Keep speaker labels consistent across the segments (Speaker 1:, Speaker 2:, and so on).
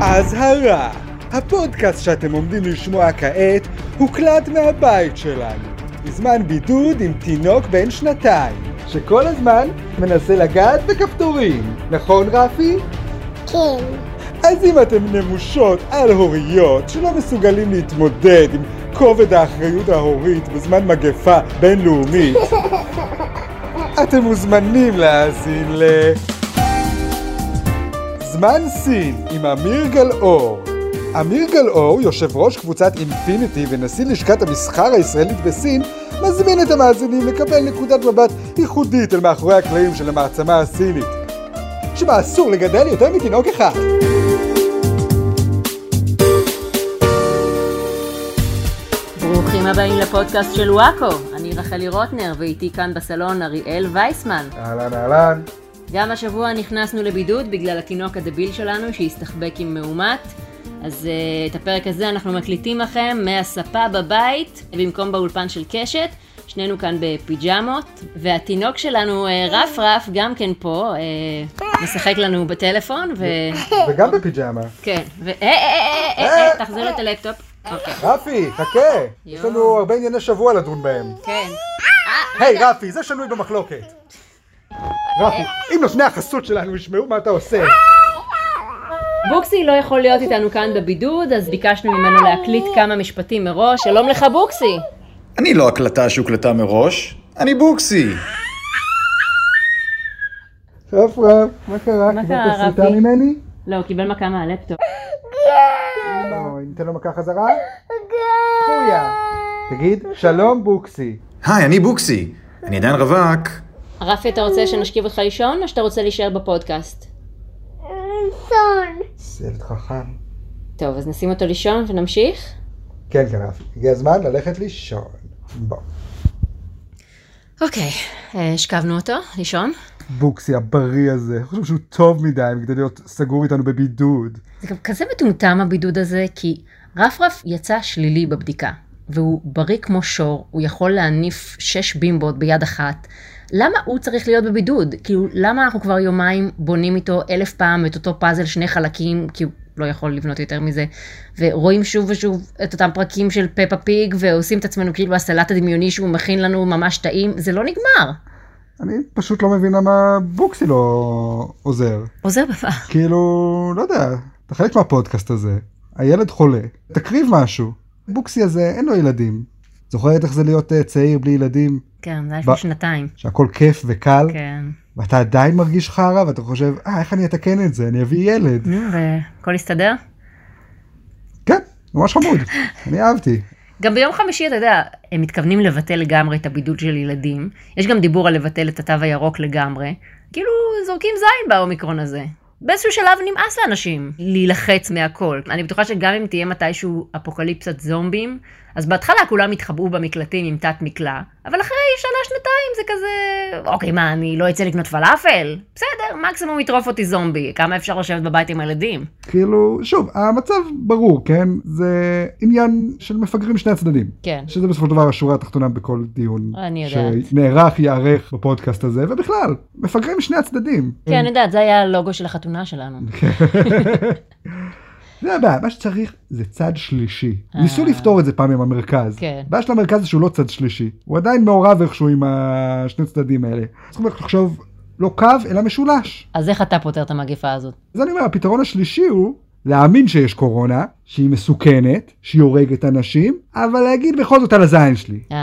Speaker 1: אזהרה, הפודקאסט שאתם עומדים לשמוע כעת הוקלט מהבית שלנו, בזמן בידוד עם תינוק בן שנתיים, שכל הזמן מנסה לגעת בכפתורים, נכון רפי?
Speaker 2: כן,
Speaker 1: אז אם אתם נמושות על הוריות שלא מסוגלים להתמודד עם כובד האחריות ההורית בזמן מגפה בינלאומית, אתם מוזמנים להאזין ל... זמן סין עם אמיר גלאור. אמיר גלאור, יושב ראש קבוצת אינפיניטי ונשיא לשכת המסחר הישראלית בסין, מזמין את המאזינים לקבל נקודת מבט ייחודית אל מאחורי הקלעים של המעצמה הסינית, שבה אסור לגדל יותר מתינוק אחד.
Speaker 3: ברוכים הבאים לפודקאסט של וואקו. אני רחלי רוטנר, ואיתי כאן בסלון אריאל וייסמן.
Speaker 1: אהלן אהלן.
Speaker 3: גם השבוע נכנסנו לבידוד בגלל התינוק הדביל שלנו שהסתחבק עם מאומת. אז uh, את הפרק הזה אנחנו מקליטים לכם מהספה בבית, במקום באולפן של קשת. שנינו כאן בפיג'מות, והתינוק שלנו, אה, רף רף, גם כן פה, אה, משחק לנו בטלפון, ו...
Speaker 1: וגם בפיג'מה.
Speaker 3: כן, ו... אה, אה, אה, אה, אה, אה, תחזיר לו את הלפטופ. אוקיי,
Speaker 1: רפי, חכה! יש
Speaker 3: יואו.
Speaker 1: לנו הרבה ענייני שבוע לדון בהם.
Speaker 3: כן.
Speaker 1: היי רפי, זה שנוי במחלוקת. רפי, אם נותני החסות שלנו ישמעו מה אתה עושה.
Speaker 3: בוקסי לא יכול להיות איתנו כאן בבידוד, אז ביקשנו ממנו להקליט כמה משפטים מראש. שלום לך, בוקסי!
Speaker 4: אני לא הקלטה שהוקלטה מראש, אני בוקסי.
Speaker 1: רף רף, מה קרה?
Speaker 3: מה
Speaker 1: קיבלת
Speaker 3: קרה,
Speaker 1: סריטה
Speaker 3: רפי?
Speaker 1: ממני?
Speaker 3: לא, הוא קיבל מכה מהלפטופ.
Speaker 1: לא, ניתן לו מכה חזרה? פויה. תגיד, שלום בוקסי.
Speaker 4: היי, אני בוקסי. אני עדיין רווק.
Speaker 3: רפי, אתה רוצה שנשכיב אותך לישון, או שאתה רוצה להישאר בפודקאסט?
Speaker 2: סון.
Speaker 1: זה ילד חכם.
Speaker 3: טוב, אז נשים אותו לישון ונמשיך?
Speaker 1: כן, כן, רפי. הגיע הזמן ללכת לישון. בוא.
Speaker 3: אוקיי, אה, השכבנו אותו, לישון.
Speaker 1: בוקסי הבריא הזה, אני חושב שהוא טוב מדי כדי להיות סגור איתנו בבידוד.
Speaker 3: זה גם כזה מטומטם הבידוד הזה, כי רפרף יצא שלילי בבדיקה, והוא בריא כמו שור, הוא יכול להניף שש בימבות ביד אחת. למה הוא צריך להיות בבידוד? כאילו, למה אנחנו כבר יומיים בונים איתו אלף פעם את אותו פאזל שני חלקים, כי הוא לא יכול לבנות יותר מזה, ורואים שוב ושוב את אותם פרקים של פפה פיג, ועושים את עצמנו כאילו הסלט הדמיוני שהוא מכין לנו ממש טעים, זה לא נגמר.
Speaker 1: אני פשוט לא מבין למה בוקסי לא עוזר.
Speaker 3: עוזר בבא.
Speaker 1: כאילו, לא יודע, אתה חלק מהפודקאסט הזה, הילד חולה, תקריב משהו. בוקסי הזה, אין לו ילדים. זוכרת איך זה להיות אה, צעיר בלי ילדים,
Speaker 3: כן, זה היה
Speaker 1: ב-
Speaker 3: לפני שנתיים.
Speaker 1: שהכל כיף וקל,
Speaker 3: כן.
Speaker 1: ואתה עדיין מרגיש חרא, ואתה חושב, אה, איך אני אתקן את זה, אני אביא ילד.
Speaker 3: נו, והכל הסתדר?
Speaker 1: כן, ממש חמוד, אני אהבתי.
Speaker 3: גם ביום חמישי, אתה יודע, הם מתכוונים לבטל לגמרי את הבידוד של ילדים. יש גם דיבור על לבטל את התו הירוק לגמרי. כאילו, זורקים זין באומיקרון הזה. באיזשהו שלב נמאס לאנשים להילחץ מהכל. אני בטוחה שגם אם תהיה מתישהו אפוקליפסת זומבים, אז בהתחלה כולם יתחבאו במקלטים עם תת מקלע, אבל אחרי שנה-שנתיים זה כזה, אוקיי, מה, אני לא אצא לקנות פלאפל? בסדר, מקסימום יטרוף אותי זומבי. כמה אפשר לשבת בבית עם הילדים?
Speaker 1: כאילו, שוב, המצב ברור, כן? זה עניין של מפגרים משני הצדדים.
Speaker 3: כן.
Speaker 1: שזה בסופו של דבר השורה התחתונה בכל דיון
Speaker 3: אני יודעת.
Speaker 1: שנערך, ייערך בפודקאסט הזה, ובכלל, מפגרים משני הצדדים.
Speaker 3: כן, אני יודעת, זה היה הלוגו של החתונה שלנו.
Speaker 1: זה הבעיה, מה שצריך זה צד שלישי.
Speaker 3: אה.
Speaker 1: ניסו לפתור את זה פעם עם המרכז.
Speaker 3: כן.
Speaker 1: הבעיה של המרכז זה שהוא לא צד שלישי. הוא עדיין מעורב איכשהו עם השני צדדים האלה. צריכים רק לחשוב לא קו, אלא משולש.
Speaker 3: אז איך אתה פותר את המגפה הזאת?
Speaker 1: אז אני אומר, הפתרון השלישי הוא להאמין שיש קורונה, שהיא מסוכנת, שהיא הורגת אנשים, אבל להגיד בכל זאת על הזין שלי.
Speaker 3: אה,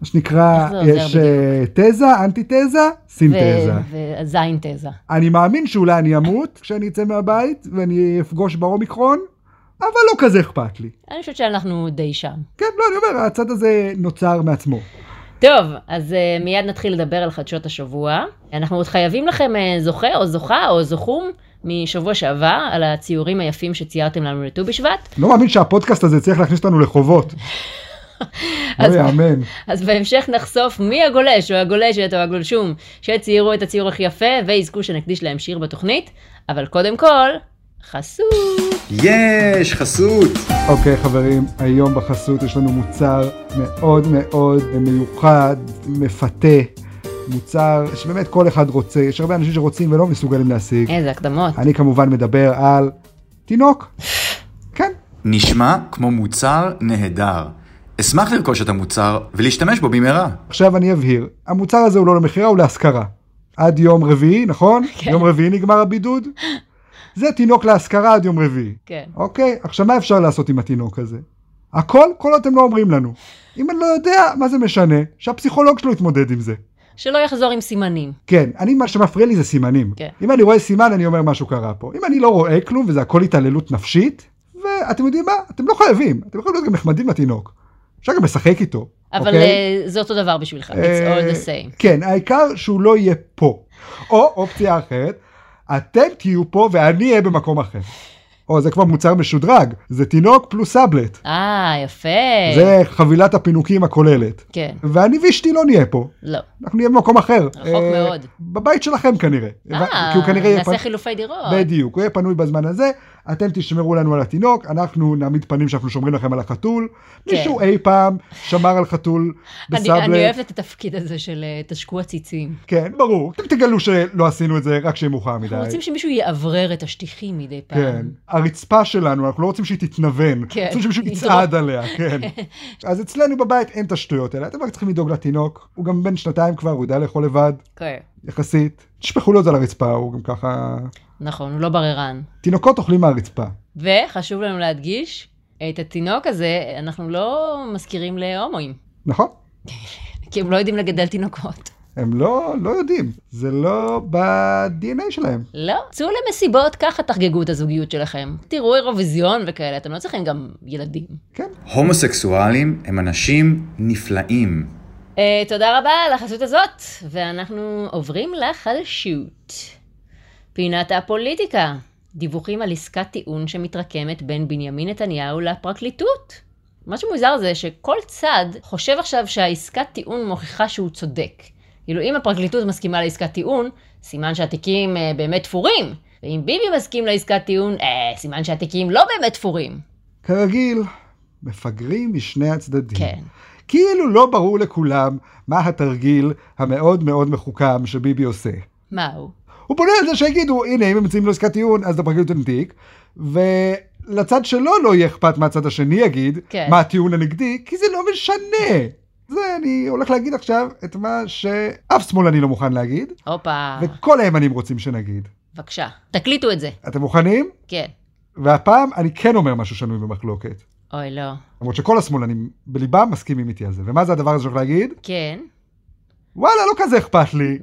Speaker 1: מה שנקרא,
Speaker 3: איך זה עוזר
Speaker 1: יש אה, תזה, אנטי תזה, סינתזה.
Speaker 3: וזין תזה.
Speaker 1: אני מאמין שאולי אני אמות כשאני אצא מהבית ואני אפגוש באומיקרון, אבל לא כזה אכפת לי.
Speaker 3: אני חושבת שאנחנו די שם.
Speaker 1: כן, לא, אני אומר, הצד הזה נוצר מעצמו.
Speaker 3: טוב, אז uh, מיד נתחיל לדבר על חדשות השבוע. אנחנו עוד חייבים לכם uh, זוכה או זוכה או זוכום משבוע שעבר על הציורים היפים שציירתם לנו לט"ו בשבט.
Speaker 1: לא מאמין שהפודקאסט הזה צריך להכניס אותנו לחובות.
Speaker 3: אז-
Speaker 1: לא יאמן.
Speaker 3: אז בהמשך נחשוף מי הגולש או הגולשת או הגולשום שציירו את הציור הכי יפה ויזכו שנקדיש להם שיר בתוכנית, אבל קודם כל, חסות.
Speaker 4: יש, חסות.
Speaker 1: אוקיי, חברים, היום בחסות יש לנו מוצר מאוד מאוד מיוחד, מפתה. מוצר שבאמת כל אחד רוצה, יש הרבה אנשים שרוצים ולא מסוגלים להשיג.
Speaker 3: איזה הקדמות.
Speaker 1: אני כמובן מדבר על תינוק. כן,
Speaker 4: נשמע כמו מוצר נהדר. אשמח לרכוש את המוצר ולהשתמש בו במהרה.
Speaker 1: עכשיו אני אבהיר, המוצר הזה הוא לא למכירה, הוא להשכרה. עד יום רביעי, נכון?
Speaker 3: כן.
Speaker 1: יום רביעי נגמר הבידוד? זה תינוק להשכרה עד יום רביעי.
Speaker 3: כן.
Speaker 1: אוקיי, עכשיו מה אפשר לעשות עם התינוק הזה? הכל, כל עוד אתם לא אומרים לנו. אם אני לא יודע, מה זה משנה? שהפסיכולוג שלו יתמודד עם זה.
Speaker 3: שלא יחזור עם סימנים.
Speaker 1: כן, אני, מה שמפריע לי זה סימנים.
Speaker 3: כן.
Speaker 1: אם אני רואה סימן, אני אומר משהו קרה פה. אם אני לא רואה כלום, וזה הכל התעללות נפשית, ואתם יודעים מה? אתם לא חייבים. אתם יכולים להיות גם נחמדים לתינוק. אפשר גם לשחק איתו.
Speaker 3: אבל
Speaker 1: אוקיי?
Speaker 3: אה, זה אותו דבר בשבילך, it's all the
Speaker 1: אה,
Speaker 3: same.
Speaker 1: כן, העיקר שהוא לא יהיה פה. או אופציה אחרת, אתם תהיו פה ואני אהיה במקום אחר. או זה כבר מוצר משודרג, זה תינוק פלוס סאבלט.
Speaker 3: אה, יפה.
Speaker 1: זה חבילת הפינוקים הכוללת.
Speaker 3: כן,
Speaker 1: ואני ואשתי לא נהיה פה,
Speaker 3: לא.
Speaker 1: אנחנו נהיה במקום אחר.
Speaker 3: רחוק
Speaker 1: אה,
Speaker 3: מאוד.
Speaker 1: בבית שלכם כנראה.
Speaker 3: אה,
Speaker 1: כי הוא כנראה יהיה
Speaker 3: נעשה
Speaker 1: פנ-
Speaker 3: חילופי דירות.
Speaker 1: בדיוק, הוא יהיה פנוי בזמן הזה, אתם תשמרו לנו על התינוק, אנחנו נעמיד פנים שאנחנו שומרים לכם על החתול.
Speaker 3: כן.
Speaker 1: מישהו אי פעם שמר על חתול
Speaker 3: אני-
Speaker 1: בסאבלט.
Speaker 3: אני אוהבת את התפקיד הזה של אה, תשקו עציצים.
Speaker 1: כן, ברור. אתם תגלו שלא עשינו את זה רק שיהיה מאוחר מדי.
Speaker 3: אנחנו רוצים שמישהו יאוורר את השטיחים מדי פעם.
Speaker 1: כן. הרצפה שלנו, אנחנו לא רוצים שהיא תתנוון.
Speaker 3: כן.
Speaker 1: רוצים שמישהו
Speaker 3: יזרוק.
Speaker 1: יצעד עליה, כן. אז אצלנו בבית אין את השטויות האלה. אתם רק צריכים לדאוג לתינוק. הוא גם בן שנתיים כבר, הוא יודע לאכול לבד,
Speaker 3: כן.
Speaker 1: יחסית. תשפכו לו את זה על הרצפה, הוא גם ככה...
Speaker 3: נכון, הוא לא בררן.
Speaker 1: תינוקות אוכלים מהרצפה.
Speaker 3: וחשוב לנו להדגיש, את התינוק הזה אנחנו לא מזכירים להומואים,
Speaker 1: נכון?
Speaker 3: כי הם לא יודעים לגדל תינוקות.
Speaker 1: הם לא, לא יודעים. זה לא ב-DNA שלהם.
Speaker 3: לא, צאו למסיבות, ככה תחגגו את הזוגיות שלכם. תראו אירוויזיון וכאלה, אתם לא צריכים גם ילדים.
Speaker 1: כן.
Speaker 4: הומוסקסואלים הם אנשים נפלאים.
Speaker 3: Uh, תודה רבה על החסות הזאת, ואנחנו עוברים לחדשות. פינת הפוליטיקה, דיווחים על עסקת טיעון שמתרקמת בין בנימין נתניהו לפרקליטות. מה שמוזר זה שכל צד חושב עכשיו שהעסקת טיעון מוכיחה שהוא צודק. כאילו אם הפרקליטות מסכימה לעסקת טיעון, סימן שהתיקים אה, באמת תפורים. ואם ביבי מסכים לעסקת טיעון, אה, סימן שהתיקים לא באמת תפורים.
Speaker 1: כרגיל, מפגרים משני הצדדים.
Speaker 3: כן.
Speaker 1: כאילו לא ברור לכולם מה התרגיל המאוד מאוד מחוכם שביבי עושה.
Speaker 3: מהו?
Speaker 1: הוא פונה על זה שיגידו, הנה, אם הם מציעים לו עסקת טיעון, אז לפרקליטות אין תיק, ולצד שלו לא יהיה אכפת מה הצד השני יגיד,
Speaker 3: כן.
Speaker 1: מה הטיעון הנגדי, כי זה לא משנה. זה אני הולך להגיד עכשיו את מה שאף שמאלני לא מוכן להגיד,
Speaker 3: הופה.
Speaker 1: וכל הימנים רוצים שנגיד.
Speaker 3: בבקשה. תקליטו את זה.
Speaker 1: אתם מוכנים?
Speaker 3: כן.
Speaker 1: והפעם אני כן אומר משהו שנוי במחלוקת.
Speaker 3: אוי, לא.
Speaker 1: למרות שכל השמאלנים בליבם מסכימים איתי על זה. ומה זה הדבר הזה שאני הולך להגיד?
Speaker 3: כן.
Speaker 1: וואלה, לא כזה אכפת לי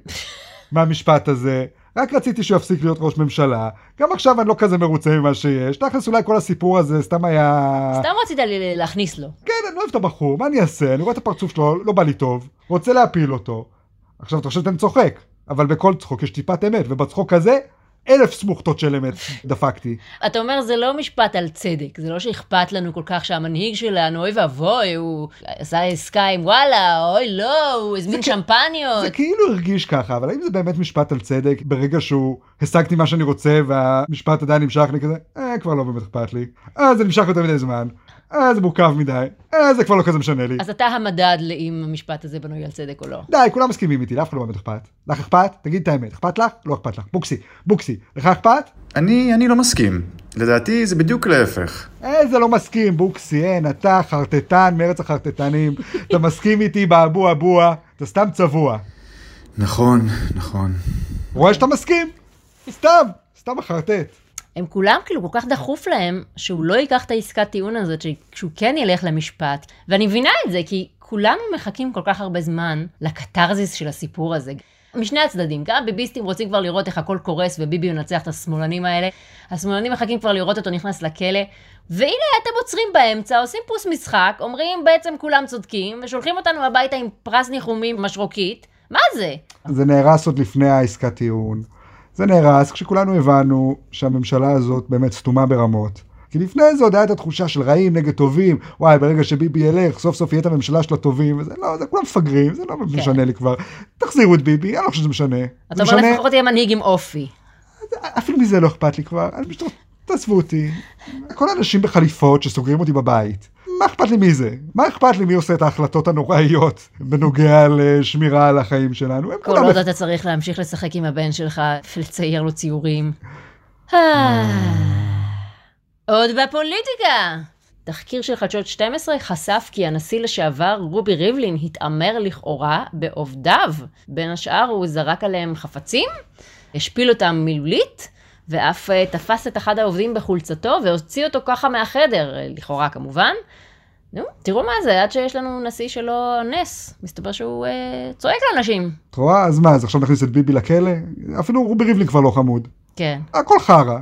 Speaker 1: מהמשפט הזה. רק רציתי שהוא יפסיק להיות ראש ממשלה. גם עכשיו אני לא כזה מרוצה ממה שיש. תכלס אולי כל הסיפור הזה סתם היה...
Speaker 3: סתם רצית לי- להכניס לו.
Speaker 1: כן, אני לא אוהב את הבחור, מה אני אעשה? אני רואה את הפרצוף שלו, לא בא לי טוב. רוצה להפיל אותו. עכשיו, אתה חושב שאני צוחק. אבל בכל צחוק יש טיפת אמת, ובצחוק הזה, אלף סמוכתות של אמת דפקתי.
Speaker 3: אתה אומר, זה לא משפט על צדק, זה לא שאכפת לנו כל כך שהמנהיג שלנו, אוי ואבוי, הוא עשה עסקה עם וואלה, אוי לא, הוא הזמין שמפניות.
Speaker 1: זה כאילו הרגיש ככה, אבל האם זה באמת משפט על צדק ברגע שהוא השגתי מה שאני רוצה והמשפט עדיין נמשך לי כזה, אה, כבר לא באמת אכפת לי, אה, זה נמשך יותר מדי זמן, אה, זה מורכב מדי, אה, זה כבר לא כזה משנה לי.
Speaker 3: אז אתה המדד לאם המשפט הזה בנוי על צדק או לא.
Speaker 1: די, כולם מסכימים איתי, לאף אחד לא באמת אכפת. לך אכפת? תגיד את האמת, אכפת לך? לא אכפת לך. בוקסי, בוקסי, לך אכפת?
Speaker 4: אני, אני לא מסכים. לדעתי זה בדיוק להפך.
Speaker 1: איזה לא מסכים, בוקסי, אין, אתה חרטטן מארץ החרטטנים, אתה מסכים איתי באבו אבוה, אתה סתם צבוע.
Speaker 4: נכון, נכון.
Speaker 1: רואה שאתה מסכים? סתם, סתם מחרטט.
Speaker 3: הם כולם כאילו כל כך דחוף להם, שהוא לא ייקח את העסקת טיעון הזאת, ש- שהוא כן ילך למשפט. ואני מבינה את זה, כי כולנו מחכים כל כך הרבה זמן לקתרזיס של הסיפור הזה. משני הצדדים, גם ביביסטים רוצים כבר לראות איך הכל קורס וביבי ינצח את השמאלנים האלה. השמאלנים מחכים כבר לראות אותו נכנס לכלא. והנה אתם עוצרים באמצע, עושים פוס משחק, אומרים בעצם כולם צודקים, ושולחים אותנו הביתה עם פרס ניחומים משרוקית. מה זה?
Speaker 1: זה נהרס עוד לפני העסקת טיעון. זה נהרס כשכולנו הבנו שהממשלה הזאת באמת סתומה ברמות. כי לפני זה עוד הייתה התחושה של רעים נגד טובים, וואי, ברגע שביבי ילך, סוף סוף יהיה את הממשלה של הטובים, וזה לא, זה כולם מפגרים, זה לא
Speaker 3: כן.
Speaker 1: משנה לי כבר. תחזירו את ביבי, אני לא חושב שזה משנה.
Speaker 3: אתה
Speaker 1: זה
Speaker 3: אומר
Speaker 1: משנה,
Speaker 3: לפחות תהיה מנהיג עם אופי.
Speaker 1: אפילו מזה לא אכפת לי כבר, אני פשוט, תעזבו אותי. כל האנשים בחליפות שסוגרים אותי בבית. מה אכפת לי מי זה? מה אכפת לי מי עושה את ההחלטות הנוראיות בנוגע לשמירה על החיים שלנו? הם
Speaker 3: כל
Speaker 1: כולם...
Speaker 3: עוד אתה צריך להמשיך לשחק עם הבן שלך ולצייר לו ציורים. אה. עוד בפוליטיקה! תחקיר של חדשות 12 חשף כי הנשיא לשעבר רובי ריבלין התעמר לכאורה בעובדיו. בין השאר הוא זרק עליהם חפצים, השפיל אותם מילולית, ואף אה, תפס את אחד העובדים בחולצתו והוציא אותו ככה מהחדר, אה, לכאורה כמובן. נו, תראו מה זה, עד שיש לנו נשיא שלו נס. מסתבר שהוא אה, צועק לאנשים.
Speaker 1: את רואה? אז מה, אז עכשיו נכניס את ביבי לכלא? אפילו רובי ריבלין כבר לא חמוד.
Speaker 3: כן.
Speaker 1: הכל חרא.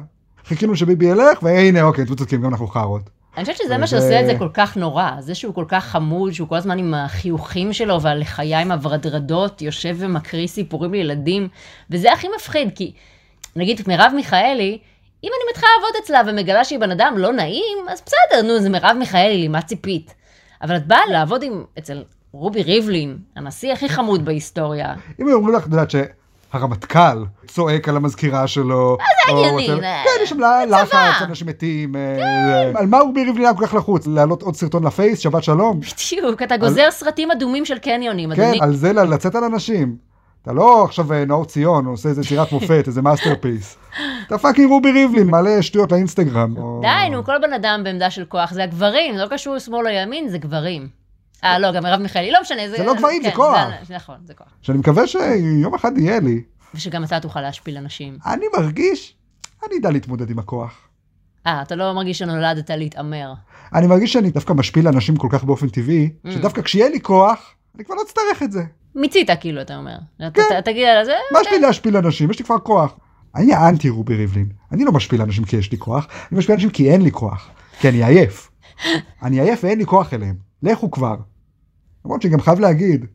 Speaker 1: חיכינו שביבי ילך, והנה, אוקיי, אתם צודקים, גם אנחנו חארות.
Speaker 3: אני חושבת שזה מה
Speaker 1: זה-
Speaker 3: שעושה את זה כל כך נורא, זה שהוא כל כך חמוד, שהוא כל הזמן עם החיוכים שלו והלחיים הוורדרדות, יושב ומקריא סיפורים לילדים, וזה הכי מפחיד, כי נגיד מרב מיכאלי, אם אני מתחילה לעבוד אצלה ומגלה שהיא בן אדם לא נעים, אז בסדר, נו, זה מרב מיכאלי, מה ציפית? אבל את באה לעבוד עם, אצל רובי ריבלין, הנשיא הכי חמוד בהיסטוריה.
Speaker 1: אם היו אומרים לך, את יודעת שהרמטכ"ל צועק על המזכירה שלו,
Speaker 3: אה, זה
Speaker 1: או
Speaker 3: הגיוני,
Speaker 1: whatever.
Speaker 3: זה- כן.
Speaker 1: כן, יש שם לחץ, אנשים מתים. אה, זה. על מה רובי ריבלין היה כל כך לחוץ? להעלות עוד סרטון לפייס, שבת שלום?
Speaker 3: בדיוק, אתה גוזר סרטים אדומים של קניונים,
Speaker 1: כן,
Speaker 3: אדוני.
Speaker 1: על זה ל- לצאת על אנשים. אתה לא עכשיו אה, נאור ציון, עושה איזה יצירת מופת, איזה מאסטרפיס. אתה פאקינג רובי ריבלין, מעלה שטויות לאינסטגרם. או-
Speaker 3: די, נו, כל בן אדם בעמדה של כוח זה הגברים, זה לא קשור שמאל או ימין, זה גברים. אה, לא, גם מרב מיכאלי, לא משנה, זה...
Speaker 1: זה לא גברים, זה
Speaker 3: כן,
Speaker 1: כוח.
Speaker 3: זה- נכון, זה כוח.
Speaker 1: שאני מקווה שיום אחד יהיה לי.
Speaker 3: ושגם אתה תוכל להשפיל אנשים.
Speaker 1: אני מרגיש, אני אדע להתמודד עם הכוח.
Speaker 3: אה, אתה לא מרגיש שנולדת להתעמר.
Speaker 1: אני מרגיש שאני דווקא משפיל אנשים כל כך באופן טבעי,
Speaker 3: Mm.
Speaker 1: שדווקא כשיהיה לי כוח, אני כבר לא אצטרך את זה.
Speaker 3: מיצית, כאילו, אתה אומר. אתה-
Speaker 1: כן.
Speaker 3: אתה- תגיד על זה,
Speaker 1: מה יש לי להשפיל אנשים? יש לי כבר כוח. אני האנטי רובי ריבלין. אני לא משפיל אנשים כי יש לי כוח, אני משפיל אנשים כי אין לי כוח. כי אני עייף. אני עייף ואין לי כוח אליהם. לכו כבר. למרות שאני גם חייב להגיד,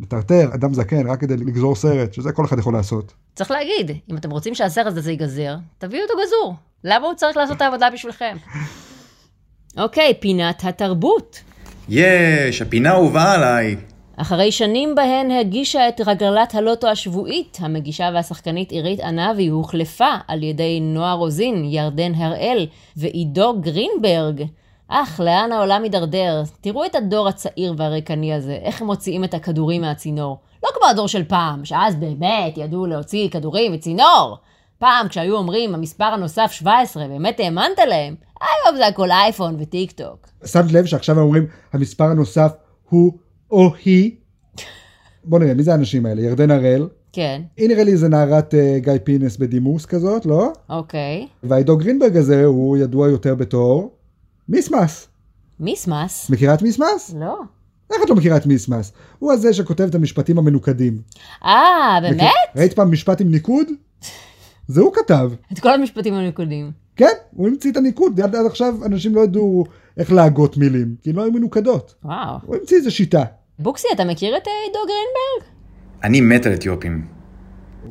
Speaker 1: מטרטר אדם זקן רק כדי לגזור סרט, שזה כל אחד יכול לעשות.
Speaker 3: צריך להגיד, אם אתם רוצים שהסרט הזה ייגזר, תביאו אותו גזור. למה הוא צריך לעשות את העבודה בשבילכם? אוקיי, פינת התרבות.
Speaker 4: יש, הפינה הובאה עליי.
Speaker 3: אחרי שנים בהן הגישה את רגלת הלוטו השבועית, המגישה והשחקנית עירית ענבי הוחלפה על ידי נועה רוזין, ירדן הראל ועידו גרינברג. אך, לאן העולם הידרדר? תראו את הדור הצעיר והריקני הזה, איך הם מוציאים את הכדורים מהצינור. לא כמו הדור של פעם, שאז באמת ידעו להוציא כדורים וצינור. פעם כשהיו אומרים המספר הנוסף 17, באמת האמנת להם? היום זה הכל אייפון וטיק טוק.
Speaker 1: שמת לב שעכשיו הם אומרים, המספר הנוסף הוא או היא. בוא נראה, מי זה האנשים האלה? ירדן הראל.
Speaker 3: כן,
Speaker 1: היא נראה לי איזה נערת אה, גיא פינס בדימוס כזאת, לא?
Speaker 3: אוקיי.
Speaker 1: והעידו גרינברג הזה הוא ידוע יותר בתור מיסמס.
Speaker 3: מיסמס?
Speaker 1: מכירה את מיסמס?
Speaker 3: לא.
Speaker 1: איך את לא מכירה את מיסמס? הוא הזה שכותב את המשפטים המנוקדים.
Speaker 3: אה, באמת?
Speaker 1: מכיר- ראית פעם משפט עם ניקוד? זה הוא כתב.
Speaker 3: את כל המשפטים הנקודים.
Speaker 1: כן, הוא המציא את הניקוד. עד עד עכשיו אנשים לא ידעו איך להגות מילים, כי לא היו מנוקדות.
Speaker 3: וואו.
Speaker 1: הוא המציא איזה שיטה.
Speaker 3: בוקסי, אתה מכיר את אה, עידו גרינברג?
Speaker 4: אני מת על אתיופים.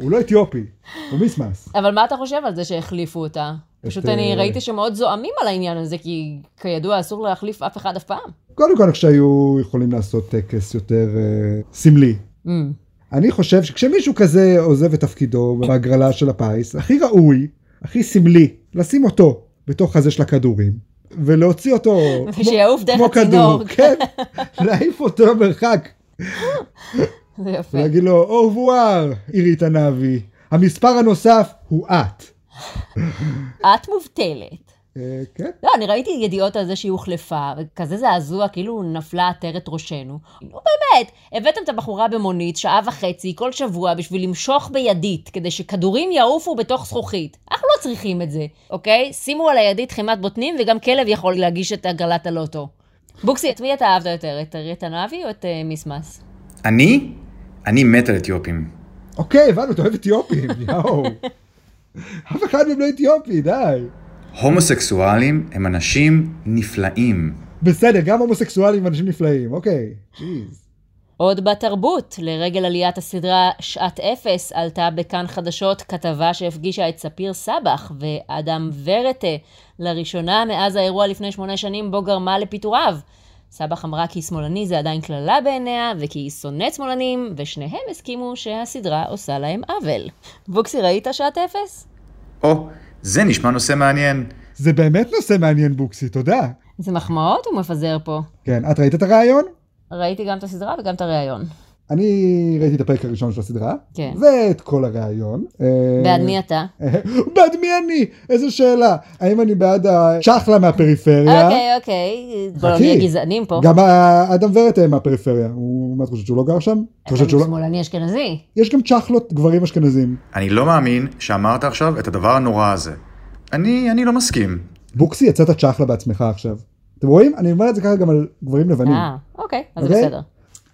Speaker 1: הוא לא אתיופי, הוא מיסמס.
Speaker 3: אבל מה אתה חושב על זה שהחליפו אותה? פשוט
Speaker 1: את,
Speaker 3: אני
Speaker 1: אה,
Speaker 3: ראיתי שמאוד זועמים על העניין הזה, כי כידוע אסור להחליף אף אחד אף פעם.
Speaker 1: קודם כל, אני חושב שהיו יכולים לעשות טקס יותר אה, סמלי.
Speaker 3: אמ,
Speaker 1: Mm. אני חושב שכשמישהו כזה עוזב את תפקידו בהגרלה של הפיס, הכי ראוי, הכי סמלי, לשים אותו בתוך הזה של הכדורים, ולהוציא אותו כמו-
Speaker 3: ושיעוף דרך
Speaker 1: כמו
Speaker 3: הצינור. כן.
Speaker 1: כדור, כן, להעיף אותו למרחק,
Speaker 3: זה יפה.
Speaker 1: ולהגיד לו, אורבואר, עירית הנאבי, המספר הנוסף הוא את.
Speaker 3: את מובטלת.
Speaker 1: אה, כן,
Speaker 3: לא, אני ראיתי ידיעות על זה שהיא הוחלפה, וכזה זעזוע, כאילו נפלה עטרת ראשנו. נו באמת, הבאתם את הבחורה במונית שעה וחצי כל שבוע בשביל למשוך בידית, כדי שכדורים יעופו בתוך זכוכית. אנחנו לא צריכים את זה, אוקיי? שימו על הידית חימת בוטנים, וגם כלב יכול להגיש את הגרלת הלוטו. בוקסי, את מי אתה אהבת יותר, את אריאט הנאבי או את אה, מיסמס?
Speaker 4: אני? אני מת על אתיופים.
Speaker 1: אוקיי, הבנו, אתה אוהב אתיופים, יואו. אף אחד מהם לא אתיופי, די.
Speaker 4: הומוסקסואלים הם אנשים נפלאים.
Speaker 1: בסדר, גם הומוסקסואלים הם אנשים נפלאים, אוקיי. ג'יז.
Speaker 3: עוד בתרבות, לרגל עליית הסדרה שעת אפס, עלתה בכאן חדשות כתבה שהפגישה את ספיר סבח ואדם ורטה, לראשונה מאז האירוע לפני שמונה שנים בו גרמה לפיטוריו. סבח אמרה כי שמאלני זה עדיין קללה בעיניה, וכי היא שונאת שמאלנים, ושניהם הסכימו שהסדרה עושה להם עוול. בוקסי, ראית שעת אפס?
Speaker 4: או, זה נשמע נושא מעניין.
Speaker 1: זה באמת נושא מעניין, בוקסי, תודה.
Speaker 3: איזה מחמאות הוא מפזר פה.
Speaker 1: כן, את ראית את הרעיון?
Speaker 3: ראיתי גם את הסדרה וגם את הראיון.
Speaker 1: אני ראיתי את הפרק הראשון של הסדרה,
Speaker 3: כן.
Speaker 1: ואת כל הרעיון. אה,
Speaker 3: בעד מי אתה?
Speaker 1: בעד מי אני? איזו שאלה. האם אני בעד השחלה מהפריפריה?
Speaker 3: אוקיי, אוקיי. בואו
Speaker 1: חכי.
Speaker 3: נהיה גזענים פה.
Speaker 1: גם האדם ורת הם מהפריפריה. הוא, מה את חושבת, שהוא לא גר שם? את חושבת שהוא
Speaker 3: הוא
Speaker 1: לא?
Speaker 3: שמאלני אשכנזי.
Speaker 1: יש גם צ'חלות גברים אשכנזים.
Speaker 4: אני לא מאמין שאמרת עכשיו את הדבר הנורא הזה. אני, אני לא מסכים.
Speaker 1: בוקסי, יצאת צ'חלה בעצמך עכשיו. אתם רואים? אני אומר את זה ככה גם על גברים לבנים.
Speaker 3: אה, אוקיי, אז זה
Speaker 1: אוקיי?
Speaker 3: בסדר.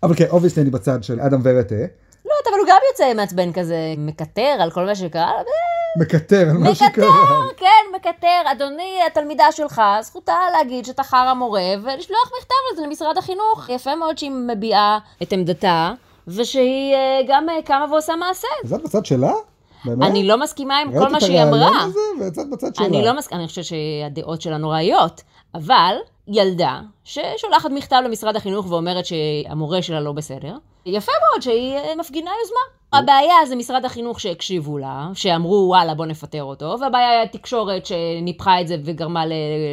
Speaker 1: אבל כן, אובייסטי אני בצד של אדם אה. ורטה.
Speaker 3: לא, אבל הוא גם יוצא מעצבן כזה, מקטר על כל מה שקרה, לו,
Speaker 1: מקטר על מה
Speaker 3: מקטר,
Speaker 1: שקרה.
Speaker 3: כן, מקטר. אדוני, התלמידה שלך, זכותה להגיד שאתה חרא מורה, ולשלוח מכתב על זה למשרד החינוך. יפה מאוד שהיא מביעה את עמדתה, ושהיא אה, גם אה, קמה ועושה מעשה.
Speaker 1: אז את בצד שלה? באמת?
Speaker 3: אני לא מסכימה עם
Speaker 1: ראית
Speaker 3: כל
Speaker 1: את
Speaker 3: מה שהיא
Speaker 1: הרעיון
Speaker 3: אמרה.
Speaker 1: הזה? ויצאת בצד שלה.
Speaker 3: אני לא מסכימה, אני חושבת שהדעות שלנו ראיות, אבל ילדה ששולחת מכתב למשרד החינוך ואומרת שהמורה שלה לא בסדר, יפה מאוד שהיא אה, מפגינה יוזמה. הבעיה זה משרד החינוך שהקשיבו לה, שאמרו וואלה בוא נפטר אותו, והבעיה היא התקשורת שניפחה את זה וגרמה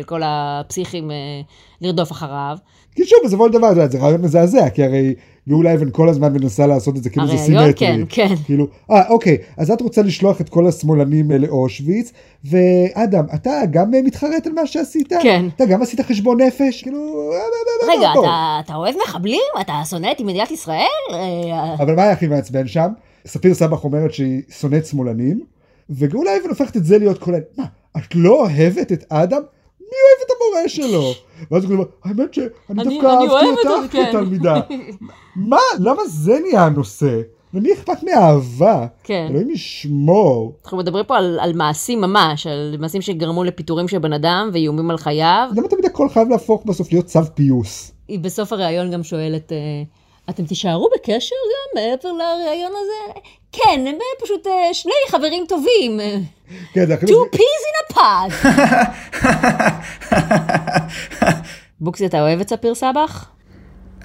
Speaker 3: לכל הפסיכים אה, לרדוף אחריו.
Speaker 1: כי שוב, בסופו של דבר, את יודעת, זה רעיון מזעזע, כי הרי גאולה אבן כל הזמן מנסה לעשות את זה כאילו זה
Speaker 3: הרעיון,
Speaker 1: סימטרי.
Speaker 3: כן, כן.
Speaker 1: כאילו, אה, אוקיי, אז את רוצה לשלוח את כל השמאלנים אה, לאושוויץ, ואדם, אתה גם אה, מתחרט על מה שעשית?
Speaker 3: כן.
Speaker 1: אתה גם עשית חשבון נפש? כאילו, אה, אה, אה, אה,
Speaker 3: רגע,
Speaker 1: אה, טוב.
Speaker 3: אתה, אתה אוהב מחבלים? אתה שונא את מדינת ישראל? אה,
Speaker 1: אבל מה היה הכי מעצבן שם? ספיר סבח אומרת שהיא שונאת שמאלנים, וגאולה אבן הופכת את זה להיות כל ה... מה, את לא אוהבת את אדם? מי אוהב את המורה שלו? ואז הוא אומר, האמת שאני
Speaker 3: אני-
Speaker 1: דווקא
Speaker 3: אני אוהבת
Speaker 1: אהבתי
Speaker 3: אותו,
Speaker 1: אותך
Speaker 3: כן."
Speaker 1: כתלמידה. מה, למה זה נהיה הנושא? למי אכפת מאהבה?
Speaker 3: כן.
Speaker 1: אלוהים ישמור.
Speaker 3: אנחנו מדברים פה על, על מעשים ממש, על מעשים שגרמו לפיטורים של בן אדם ואיומים על חייו.
Speaker 1: למה תמיד הכל חייב להפוך בסוף להיות צו פיוס?
Speaker 3: היא בסוף הריאיון גם שואלת, אה, אתם תישארו בקשר גם מעבר לריאיון הזה? כן, הם אה, פשוט אה, שני חברים טובים. אה,
Speaker 1: כן, זה הכי...
Speaker 3: Two peas in a pod. בוקסי, אתה אוהב את ספיר סבח?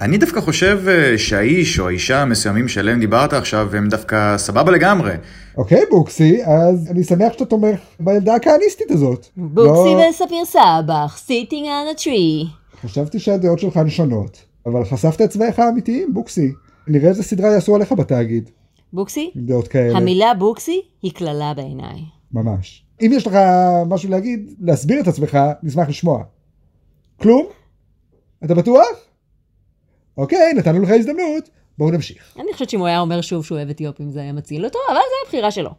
Speaker 4: אני דווקא חושב אה, שהאיש או האישה המסוימים שעליהם דיברת עכשיו הם דווקא סבבה לגמרי.
Speaker 1: אוקיי, בוקסי, אז אני שמח שאתה תומך בילדה הכהניסטית הזאת.
Speaker 3: בוקסי
Speaker 1: לא-
Speaker 3: וספיר סבח, sitting on a tree.
Speaker 1: חשבתי שהדעות שלך הן שונות, אבל חשפת את צבעיך האמיתיים, בוקסי. נראה איזה סדרה יעשו עליך בתאגיד,
Speaker 3: בוקסי,
Speaker 1: עם דעות כאלה.
Speaker 3: המילה בוקסי היא קללה בעיניי.
Speaker 1: ממש. אם יש לך משהו להגיד, להסביר את עצמך, נשמח לשמוע. כלום? אתה בטוח? אוקיי, נתנו לך הזדמנות, בואו נמשיך.
Speaker 3: אני חושבת שאם הוא היה אומר שוב שהוא אוהב אתיופים זה היה מציל אותו, אבל זו הבחירה שלו.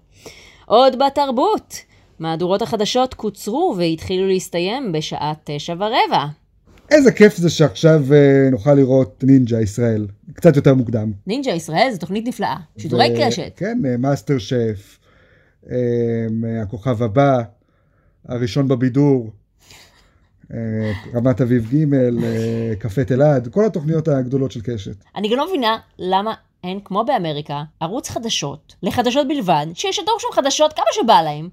Speaker 3: עוד בתרבות. מהדורות החדשות קוצרו והתחילו להסתיים בשעה תשע ורבע.
Speaker 1: איזה כיף זה שעכשיו אה, נוכל לראות נינג'ה ישראל, קצת יותר מוקדם.
Speaker 3: נינג'ה ישראל זו תוכנית נפלאה. שידורי
Speaker 1: ו-
Speaker 3: קשת.
Speaker 1: כן, אה, מאסטר שף, אה, אה, הכוכב הבא, הראשון בבידור, אה, רמת אביב ג', אה, קפה תלעד, כל התוכניות הגדולות של קשת.
Speaker 3: אני גם לא מבינה למה אין, כמו באמריקה, ערוץ חדשות, לחדשות בלבד, שישדרו שם חדשות כמה שבא להם,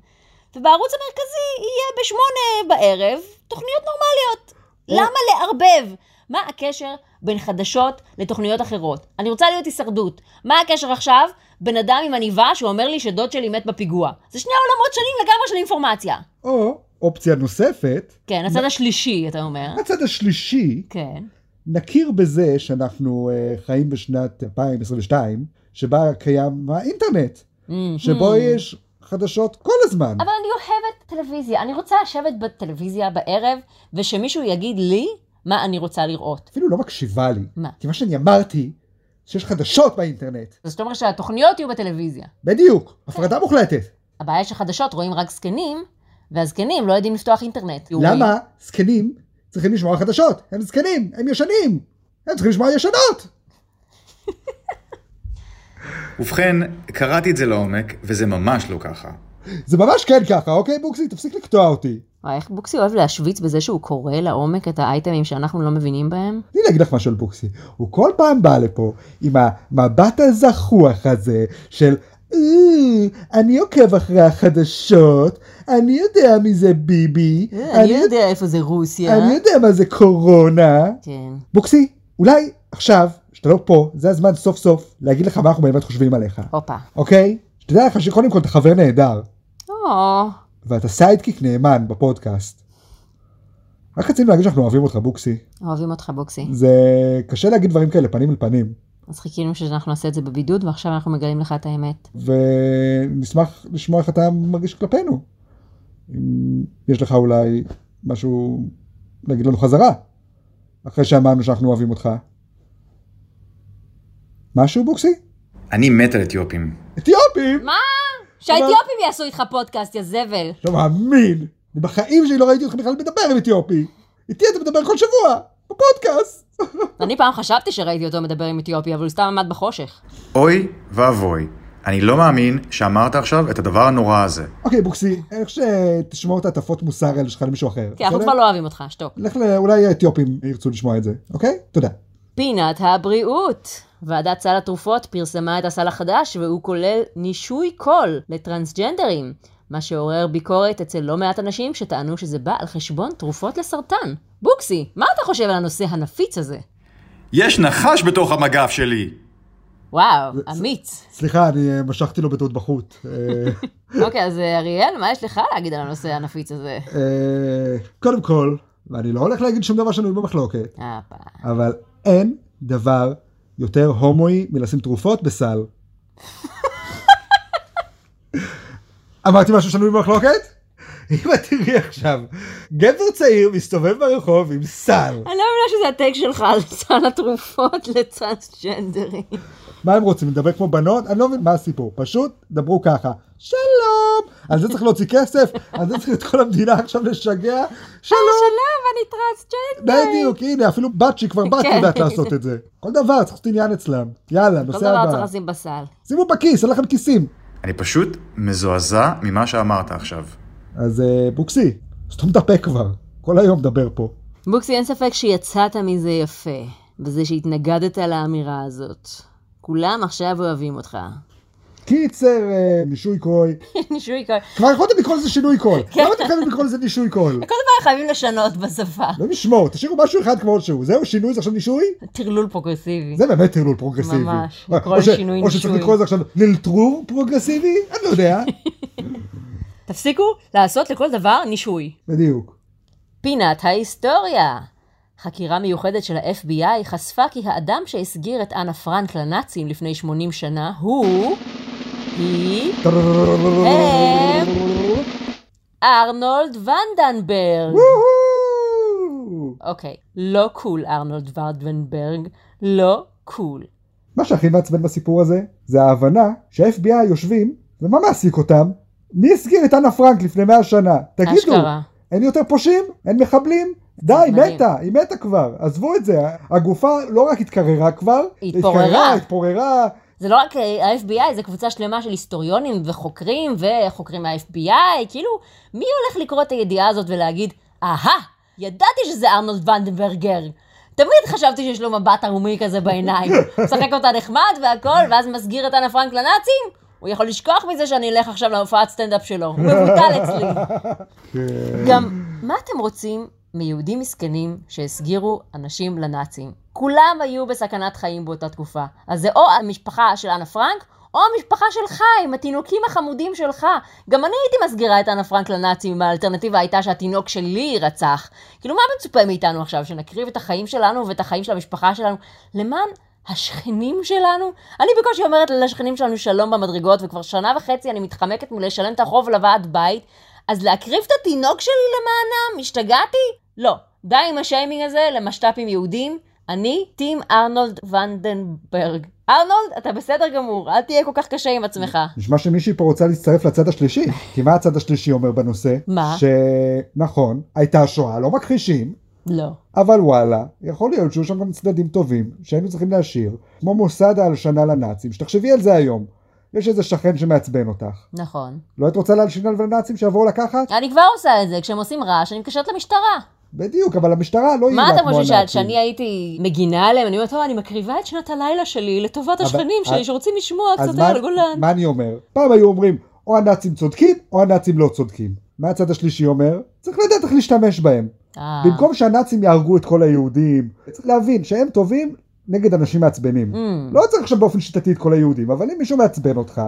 Speaker 3: ובערוץ המרכזי יהיה בשמונה בערב תוכניות נורמליות. למה לערבב? מה הקשר בין חדשות לתוכניות אחרות? אני רוצה להיות הישרדות. מה הקשר עכשיו? בן אדם עם עניבה שאומר לי שדוד שלי מת בפיגוע. זה שני עולמות שונים לגמרי של אינפורמציה.
Speaker 1: או אופציה נוספת,
Speaker 3: כן, הצד השלישי, אתה אומר.
Speaker 1: הצד השלישי,
Speaker 3: כן.
Speaker 1: נכיר בזה שאנחנו אה, חיים בשנת 2022, שבה קיים האינטרנט,
Speaker 3: Mm.
Speaker 1: שבו יש חדשות כל הזמן.
Speaker 3: Hmm. אבל אני אוהבת טלוויזיה. אני רוצה לשבת בטלוויזיה בערב, ושמישהו יגיד לי מה אני רוצה לראות.
Speaker 1: אפילו לא מקשיבה לי.
Speaker 3: מה?
Speaker 1: כי מה שאני אמרתי, שיש חדשות באינטרנט.
Speaker 3: זאת אומרת שהתוכניות יהיו בטלוויזיה. כן.
Speaker 1: בדיוק, הפרדה מוחלטת.
Speaker 3: הבעיה היא שחדשות רואים רק זקנים, והזקנים לא יודעים לפתוח אינטרנט.
Speaker 1: למה זקנים צריכים לשמוע חדשות? הם זקנים, הם ישנים, הם צריכים לשמוע ישנות.
Speaker 4: ובכן, קראתי את זה לעומק, וזה ממש לא ככה.
Speaker 1: זה ממש כן ככה, אוקיי בוקסי? תפסיק לקטוע אותי.
Speaker 3: וואי, אה, איך בוקסי אוהב להשוויץ בזה שהוא קורא לעומק את האייטמים שאנחנו לא מבינים בהם?
Speaker 1: אני אגיד לך משהו על בוקסי, הוא כל פעם בא לפה עם המבט הזחוח הזה של "אה, אני עוקב אחרי החדשות, אני יודע מי זה ביבי,
Speaker 3: אה, אני
Speaker 1: יודע-
Speaker 3: יודע איפה זה רוסיה.
Speaker 1: אה, אני יודע מה זה קורונה.
Speaker 3: כן.
Speaker 1: בוקסי, אולי עכשיו, שאתה לא פה, זה הזמן סוף סוף להגיד לך מה אנחנו באמת חושבים עליך,
Speaker 3: הופה.
Speaker 1: אוקיי? שתדע לך שקודם כל אתה חבר נהדר.
Speaker 3: או,
Speaker 1: ואתה סיידקיק נאמן בפודקאסט. רק רצינו להגיד שאנחנו אוהבים אותך, בוקסי.
Speaker 3: אוהבים אותך בוקסי.
Speaker 1: זה קשה להגיד דברים כאלה, פנים אל פנים.
Speaker 3: אז חיכינו שאנחנו נעשה את זה בבידוד, ועכשיו אנחנו מגלים לך את האמת.
Speaker 1: ונשמח לשמוע איך אתה מרגיש כלפינו. אם יש לך אולי משהו להגיד לנו חזרה, אחרי שאמרנו שאנחנו אוהבים אותך. משהו, בוקסי?
Speaker 4: אני מת על אתיופים.
Speaker 1: אתיופים!
Speaker 3: מה? שהאתיופים יעשו איתך פודקאסט, יא זבל.
Speaker 1: לא מאמין! אני בחיים שלי לא ראיתי אותך בכלל מדבר עם אתיופי. איתי אתה מדבר כל שבוע, בפודקאסט.
Speaker 3: אני פעם חשבתי שראיתי אותו מדבר עם אתיופי, אבל הוא סתם עמד בחושך.
Speaker 4: אוי ואבוי, אני לא מאמין שאמרת עכשיו את הדבר הנורא הזה.
Speaker 1: אוקיי, בוקסי, איך שתשמור את הטפות מוסר האלה שלך למישהו אחר.
Speaker 3: כן, אנחנו
Speaker 1: בסדר?
Speaker 3: כבר לא אוהבים אותך, שתוק.
Speaker 1: לך ל... אולי האתיופים ירצו לשמוע את זה, אוקיי? תודה.
Speaker 3: פינת הבריאות. ועדת סל התרופות פרסמה את הסל החדש, והוא כולל נישוי קול לטרנסג'נדרים, מה שעורר ביקורת אצל לא מעט אנשים שטענו שזה בא על חשבון תרופות לסרטן. בוקסי, מה אתה חושב על הנושא הנפיץ הזה?
Speaker 4: יש נחש בתוך המגף שלי!
Speaker 3: וואו, אמיץ.
Speaker 1: סליחה, אני אה, משכתי לו בטעות בחוט. אה,
Speaker 3: אוקיי, אז אה, אריאל, מה יש לך להגיד על הנושא הנפיץ הזה?
Speaker 1: אה, קודם כל, ואני לא הולך להגיד שום דבר שנוי במחלוקת,
Speaker 3: הפה.
Speaker 1: אבל אין דבר יותר הומואי מלשים תרופות בסל. אמרתי משהו שנוי במחלוקת? אם את תראי עכשיו, גבר צעיר מסתובב ברחוב עם סל.
Speaker 3: אני לא מבינה שזה הטייק שלך על סל התרופות לטרנסג'נדרים.
Speaker 1: מה הם רוצים, לדבר כמו בנות? אני לא מבין מה הסיפור, פשוט דברו ככה, שלום, על זה צריך להוציא כסף, על זה צריך את כל המדינה עכשיו לשגע,
Speaker 3: לא.
Speaker 1: שלום,
Speaker 3: שלום, אני טרנסג'נדר.
Speaker 1: בדיוק, הנה, אפילו בת שהיא כבר בת
Speaker 3: כן.
Speaker 1: יודעת לעשות את זה. כל דבר צריך לעשות עניין אצלם, יאללה,
Speaker 3: כל
Speaker 1: נושא
Speaker 3: דבר צריך
Speaker 1: הבא.
Speaker 3: לשים בסל.
Speaker 1: שימו בכיס, אין לכם כיסים.
Speaker 4: אני פשוט מזועזע ממה שאמרת עכשיו.
Speaker 1: אז אה, בוקסי, סתום את הפה כבר, כל היום מדבר פה.
Speaker 3: בוקסי, אין ספק שיצאת מזה יפה, בזה שהתנגדת לאמירה הזאת. כולם עכשיו אוהבים אותך.
Speaker 1: קיצר, אה, נישוי קוי,
Speaker 3: נישוי קול.
Speaker 1: כבר יכולתם לקרוא לזה שינוי קול,
Speaker 3: כן.
Speaker 1: למה אתם חייבים לקרוא לזה נישוי קול?
Speaker 3: כל דבר חייבים לשנות בשפה.
Speaker 1: לא נשמור, תשאירו משהו אחד כמו שהוא, זהו שינוי זה עכשיו נישוי?
Speaker 3: טרלול פרוגרסיבי.
Speaker 1: זה באמת טרלול פרוגרסיבי.
Speaker 3: ממש,
Speaker 1: או-
Speaker 3: לקרוא
Speaker 1: או ש-
Speaker 3: לשינוי
Speaker 1: או שצריך
Speaker 3: נישוי.
Speaker 1: לקרוא לזה עכשיו ללטרור פרוגרסיבי? אני לא יודע.
Speaker 3: תפסיקו לעשות לכל דבר נישוי.
Speaker 1: בדיוק.
Speaker 3: פינת ההיסטוריה! חקירה מיוחדת של ה-FBI חשפה כי האדם שהסגיר את אנה פרנק לנאצים לפני 80 שנה הוא... היא... הם- ארנולד ונדנברג.
Speaker 1: וואו.
Speaker 3: אוקיי, לא קול ארנולד ונדנברג, לא קול.
Speaker 1: מה שהכי מעצבן בסיפור הזה, זה ההבנה שה-FBI יושבים, ומה מעסיק אותם? מי הסגיר את אנה פרנק לפני 100 שנה? תגידו,
Speaker 3: אשכרה.
Speaker 1: אין יותר פושעים? אין מחבלים? די,
Speaker 3: מדהים.
Speaker 1: מתה, היא מתה כבר, עזבו את זה, הגופה לא רק התקררה כבר,
Speaker 3: היא התפוררה.
Speaker 1: התקררה, התפוררה,
Speaker 3: זה לא רק אה, ה-FBI, זה קבוצה שלמה של היסטוריונים וחוקרים וחוקרים מה-FBI, כאילו, מי הולך לקרוא את הידיעה הזאת ולהגיד, אהה, ידעתי שזה ארנולד ונדנברגר. תמיד חשבתי שיש לו מבט ערומי כזה בעיניים. משחק אותה נחמד והכל, ואז מסגיר את אנה פרנק לנאצים? הוא יכול לשכוח מזה שאני אלך עכשיו להופעת סטנדאפ שלו. הוא מבוטל אצלי. גם, מה אתם רוצים מיהודים מסכנים שהסגירו אנשים לנאצים? כולם היו בסכנת חיים באותה תקופה. אז זה או המשפחה של אנה פרנק, או המשפחה שלך עם התינוקים החמודים שלך. גם אני הייתי מסגירה את אנה פרנק לנאצים אם האלטרנטיבה הייתה שהתינוק שלי יירצח. כאילו, מה מצופה מאיתנו עכשיו? שנקריב את החיים שלנו ואת החיים של המשפחה שלנו למען השכנים שלנו? אני בקושי אומרת לשכנים שלנו שלום במדרגות, וכבר שנה וחצי אני מתחמקת מלשלם את החוב לוועד בית, אז להקריב את התינוק שלי למענם? השתגעתי? לא. די עם השיימינג הזה למשת"פים יהודים. אני טים ארנולד ונדנברג. ארנולד, אתה בסדר גמור, אל תהיה כל כך קשה עם עצמך.
Speaker 1: נשמע שמישהי פה רוצה להצטרף לצד השלישי, כי מה הצד השלישי אומר בנושא?
Speaker 3: מה?
Speaker 1: שנכון, הייתה שואה, לא מכחישים,
Speaker 3: לא.
Speaker 1: אבל וואלה, יכול להיות שהיו שם גם צדדים טובים, שהיינו צריכים להשאיר, כמו מוסד ההלשנה לנאצים, שתחשבי על זה היום. יש איזה שכן שמעצבן אותך.
Speaker 3: נכון.
Speaker 1: לא היית רוצה להלשין על לנאצים שיבואו לקחת?
Speaker 3: אני כבר עושה את זה, כשהם עושים רעש אני מתקשרת למשטרה.
Speaker 1: בדיוק, אבל המשטרה לא
Speaker 3: מה
Speaker 1: יעילה
Speaker 3: אתה
Speaker 1: כמו
Speaker 3: חושב, ש-
Speaker 1: הנאצים.
Speaker 3: שאני הייתי מגינה עליהם? אני אומרת, "או, אני מקריבה את שנת הלילה שלי לטובת
Speaker 1: אבל-
Speaker 3: השכנים
Speaker 1: אז-
Speaker 3: שלי שרוצים לשמוע
Speaker 1: אז
Speaker 3: קצת
Speaker 1: מה-
Speaker 3: על הגולן.
Speaker 1: מה אני אומר? פעם היו אומרים, או הנאצים צודקים, או הנאצים לא צודקים. מה הצד השלישי אומר? צריך לדעת איך להשתמש בהם.
Speaker 3: אה.
Speaker 1: במקום שהנאצים יהרגו את כל היהודים, צריך להבין שהם טובים נגד אנשים מעצבנים.
Speaker 3: Mm.
Speaker 1: לא צריך עכשיו באופן שיטתי את כל היהודים, אבל אם מישהו מעצבן אותך,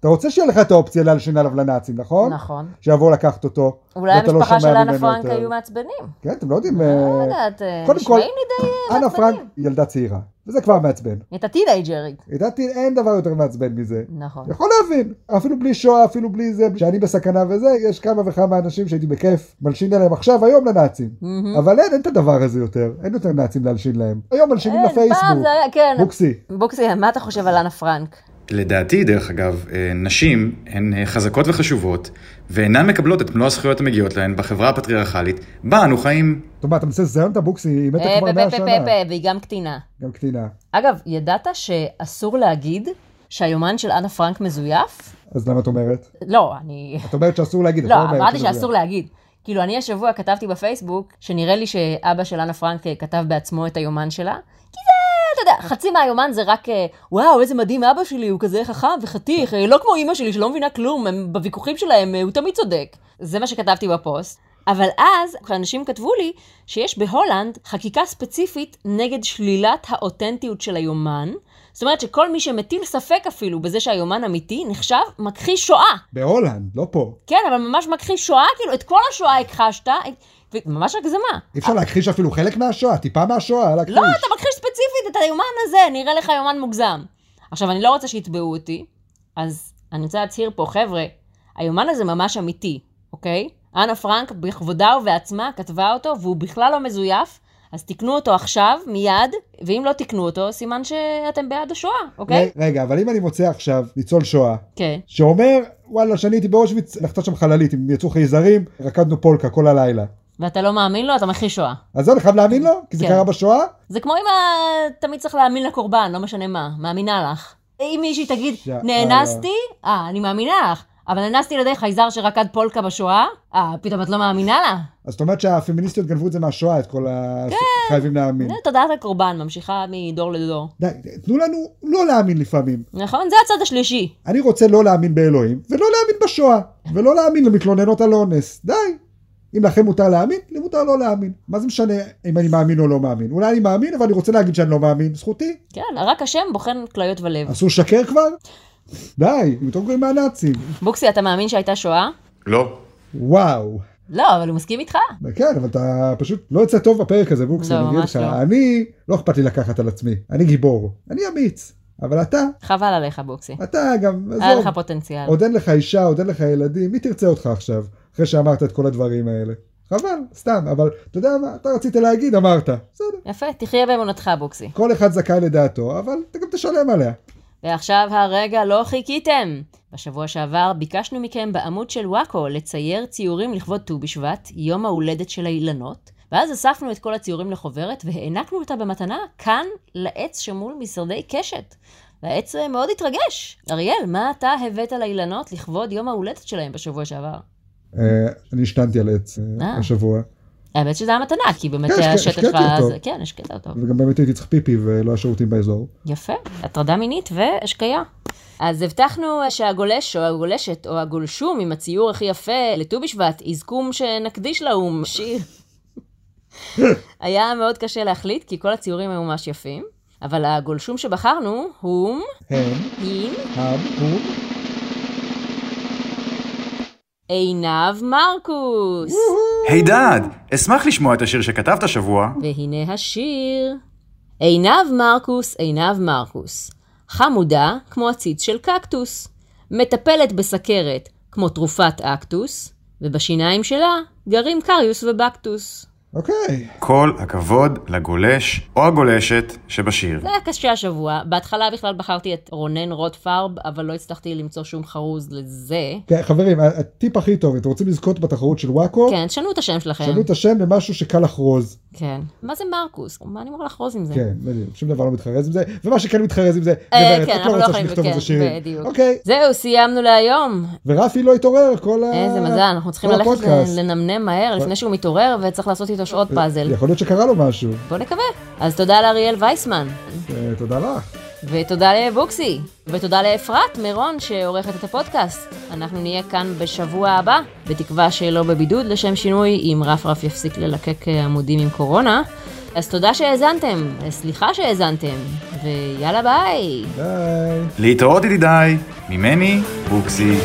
Speaker 1: אתה רוצה שיהיה לך את האופציה להלשין עליו לנאצים, נכון?
Speaker 3: נכון.
Speaker 1: שיבואו לקחת אותו.
Speaker 3: אולי
Speaker 1: ואתה לא
Speaker 3: המשפחה של
Speaker 1: שומע
Speaker 3: אנה
Speaker 1: ממנו
Speaker 3: פרנק
Speaker 1: יותר.
Speaker 3: היו מעצבנים.
Speaker 1: כן, אתם לא יודעים...
Speaker 3: לא
Speaker 1: אה,
Speaker 3: יודעת, אה,
Speaker 1: קודם כל,
Speaker 3: נשמעים לי די אה,
Speaker 1: אנה פרנק
Speaker 3: מעצבנים.
Speaker 1: ילדה צעירה, וזה כבר מעצבן.
Speaker 3: היא הייתה טינג'רית.
Speaker 1: לדעתי אין דבר יותר מעצבן מזה.
Speaker 3: נכון.
Speaker 1: יכול להבין, אפילו בלי שואה, אפילו בלי זה, שאני בסכנה וזה, יש כמה וכמה אנשים שהייתי בכיף מלשין עליהם עכשיו, היום לנאצים.
Speaker 3: מהמם.
Speaker 1: אבל אין, אין את הדבר הזה יותר, אין יותר נאצים להלשין להם. היום מלשינים
Speaker 3: אין, פעם
Speaker 1: לפייסבוק,
Speaker 3: זה היה, כן.
Speaker 1: בוקסי.
Speaker 3: בוקסי, מה אתה חושב על אנה פרנק?
Speaker 4: לדעתי, דרך אגב, אה, נשים הן אה, חזקות וחשובות, ואינן מקבלות את מלוא הזכויות המגיעות להן בחברה הפטריארכלית, בה אנו חיים.
Speaker 1: טוב, מה, אתה מנסה לזיין את הבוקסי, היא מתה
Speaker 3: אה,
Speaker 1: כבר
Speaker 3: פה,
Speaker 1: מאה
Speaker 3: פה,
Speaker 1: שנה.
Speaker 3: פה, פה, והיא גם קטינה.
Speaker 1: גם קטינה.
Speaker 3: אגב, ידעת שאסור להגיד שהיומן של אנה פרנק מזויף?
Speaker 1: אז למה את אומרת?
Speaker 3: לא, אני...
Speaker 1: את אומרת שאסור להגיד, את
Speaker 3: לא,
Speaker 1: אומרת
Speaker 3: אמרתי
Speaker 1: שזה
Speaker 3: שאסור להגיד. כאילו, אני השבוע כתבתי בפייסבוק, שנראה לי שאבא של אנה פרנק אה, כתב בעצמו את היומן שלה, כי זה, אתה יודע, חצי מהיומן זה רק, אה, וואו, איזה מדהים אבא שלי, הוא כזה חכם וחתיך, אה, לא כמו אימא שלי שלא מבינה כלום, הם, בוויכוחים שלהם אה, הוא תמיד צודק. זה מה שכתבתי בפוסט. אבל אז, אנשים כתבו לי שיש בהולנד חקיקה ספציפית נגד שלילת האותנטיות של היומן. זאת אומרת שכל מי שמטיל ספק אפילו בזה שהיומן אמיתי, נחשב מכחיש שואה.
Speaker 1: בהולנד, לא פה.
Speaker 3: כן, אבל ממש מכחיש שואה, כאילו, את כל השואה הכחשת, וממש הגזמה.
Speaker 1: אי אפשר להכחיש אפילו חלק מהשואה, טיפה מהשואה, להכחיש.
Speaker 3: אה. לא, אתה מכחיש ספציפית את היומן הזה, נראה לך יומן מוגזם. עכשיו, אני לא רוצה שיתבעו אותי, אז אני רוצה להצהיר פה, חבר'ה, היומן הזה ממש אמיתי, אוקיי? אנה פרנק בכבודה ובעצמה כתבה אותו, והוא בכלל לא מזויף, אז תקנו אותו עכשיו, מיד, ואם לא תקנו אותו, סימן שאתם בעד השואה, אוקיי?
Speaker 1: ר- אה, רגע, אבל אם אני מוצא עכשיו ניצול שואה,
Speaker 3: כן.
Speaker 1: שאומר, וואלה, שאני הייתי באושוויץ, נחתה שם חללית, אם יצאו חייזרים, רקדנו פולקה כל הלילה.
Speaker 3: ואתה לא מאמין לו, אתה מכחיש שואה.
Speaker 1: אז אני חייב להאמין לו, כי זה
Speaker 3: כן.
Speaker 1: קרה בשואה,
Speaker 3: זה כמו אם ה- תמיד צריך להאמין לקורבן, לא משנה מה, מאמינה לך. אם מישהי תגיד,
Speaker 1: שאלה.
Speaker 3: נאנסתי, אה, אני מאמינה לך, אבל נאנסתי על ידי חייזר שרקד פולקה בשואה, אה, פתאום את לא מאמינה לה?
Speaker 1: אז זאת אומרת שהפמיניסטיות גנבו את זה מהשואה, את כל ה...
Speaker 3: כן.
Speaker 1: חייבים להאמין.
Speaker 3: זה תודעת הקורבן, ממשיכה מדור לדור.
Speaker 1: די, תנו לנו לא להאמין לפעמים.
Speaker 3: נכון? זה הצד השלישי.
Speaker 1: אני רוצה לא להאמין באלוהים, ולא להאמין בשואה, ולא להאמין למתלוננות על אונס. די. אם לכם מותר להאמין, לי מותר לא להאמין. מה זה משנה אם אני מאמין או לא מאמין? אולי אני מאמין, אבל אני רוצה להגיד שאני לא מאמין, זכותי.
Speaker 3: כן, רק השם בוחן כליות ולב.
Speaker 1: אסור לשקר כבר? די, הם יותר גרועים מהנאצים.
Speaker 3: בוקסי, אתה מאמין שהייתה שואה?
Speaker 4: לא.
Speaker 1: וואו.
Speaker 3: לא, אבל הוא מסכים איתך.
Speaker 1: כן, אבל אתה פשוט לא יוצא טוב בפרק הזה, בוקסי,
Speaker 3: לא,
Speaker 1: אני אגיד
Speaker 3: ממש
Speaker 1: לך.
Speaker 3: לא.
Speaker 1: אני, לא אכפת לי לקחת על עצמי. אני גיבור. אני אמיץ. אבל אתה,
Speaker 3: חבל עליך, בוקסי.
Speaker 1: אתה גם,
Speaker 3: היה
Speaker 1: עזוב,
Speaker 3: לך פוטנציאל.
Speaker 1: עוד אין לך אישה, עוד אין לך ילדים, מי תרצה אותך עכשיו, אחרי שאמרת את כל הדברים האלה? חבל, סתם, אבל אתה יודע מה, אתה רצית להגיד, אמרת. בסדר.
Speaker 3: יפה, תחיה באמונתך, בוקסי.
Speaker 1: כל אחד זכאי לדעתו, אבל אתה גם תשלם עליה.
Speaker 3: ועכשיו הרגע לא חיכיתם. בשבוע שעבר ביקשנו מכם בעמוד של וואקו לצייר ציורים לכבוד ט"ו בשבט, יום ההולדת של האילנות, ואז אספנו את כל הציורים לחוברת והענקנו אותה במתנה כאן לעץ שמול משרדי קשת. והעץ אה, מאוד התרגש. אריאל, מה אתה הבאת לאילנות לכבוד יום ההולדת שלהם בשבוע שעבר?
Speaker 1: אה, אני השתנתי על עץ אה,
Speaker 3: אה.
Speaker 1: השבוע,
Speaker 3: האמת שזה המתנה, כי באמת
Speaker 1: כן, השק-
Speaker 3: השטח
Speaker 1: השקעתי
Speaker 3: ה-
Speaker 1: אותו.
Speaker 3: זה- כן, השקעת אותו.
Speaker 1: וגם באמת הייתי צריך פיפי ולא היה שירותים באזור.
Speaker 3: יפה, הטרדה מינית והשקיה. אז הבטחנו שהגולש או הגולשת או הגולשום עם הציור הכי יפה לט"ו בשבט, יזכום שנקדיש לאו"ם שיר. היה מאוד קשה להחליט, כי כל הציורים היו ממש יפים, אבל הגולשום שבחרנו הוא...
Speaker 1: הם,
Speaker 3: עם
Speaker 1: הם, הוא,
Speaker 3: עינב מרקוס.
Speaker 4: היי דד, אשמח לשמוע את השיר שכתבת השבוע.
Speaker 3: והנה השיר. עינב מרקוס, עינב מרקוס. חמודה כמו עציץ של קקטוס. מטפלת בסכרת כמו תרופת אקטוס, ובשיניים שלה גרים קריוס ובקטוס.
Speaker 1: אוקיי.
Speaker 4: כל הכבוד לגולש או הגולשת שבשיר.
Speaker 3: זה היה קשה השבוע. בהתחלה בכלל בחרתי את רונן רוטפרב, אבל לא הצלחתי למצוא שום חרוז לזה.
Speaker 1: כן, חברים, ה- הטיפ הכי טוב, אם אתם רוצים לזכות בתחרות של וואקו,
Speaker 3: כן, תשנו את השם שלכם.
Speaker 1: שנו את השם למשהו שקל לחרוז.
Speaker 3: כן. מה זה מרקוס? מה אני אמורה לחרוז עם זה?
Speaker 1: כן, בדיוק, שום דבר לא מתחרז עם זה, ומה שכן מתחרז עם זה,
Speaker 3: אה,
Speaker 1: גברת,
Speaker 3: כן,
Speaker 1: את
Speaker 3: אנחנו
Speaker 1: לא
Speaker 3: לא
Speaker 1: רוצה
Speaker 3: יכולים,
Speaker 1: שנכתוב
Speaker 3: כן,
Speaker 1: איזה שירים.
Speaker 3: בדיוק.
Speaker 1: אוקיי,
Speaker 3: זהו, סיימנו להיום.
Speaker 1: ורפי לא התעורר כל ה...
Speaker 3: איזה מזל, אנחנו צריכים
Speaker 1: כל
Speaker 3: ללכת
Speaker 1: הפודקאסט. אה,
Speaker 3: לנמנם מהר לפני שהוא מתעורר וצריך לעשות איתו שעות פאזל.
Speaker 1: יכול להיות שקרה לו משהו.
Speaker 3: בוא נקווה. אז תודה לאריאל וייסמן,
Speaker 1: אה, תודה לך.
Speaker 3: ותודה לבוקסי, ותודה לאפרת מירון שעורכת את הפודקאסט. אנחנו נהיה כאן בשבוע הבא, בתקווה שלא בבידוד לשם שינוי, אם רפרף יפסיק ללקק אה, עמודים עם קורונה. אז תודה שהאזנתם, אה, סליחה שהאזנתם, ויאללה ביי.
Speaker 1: ביי.
Speaker 4: להתראות ידידיי. ממני, בוקסי.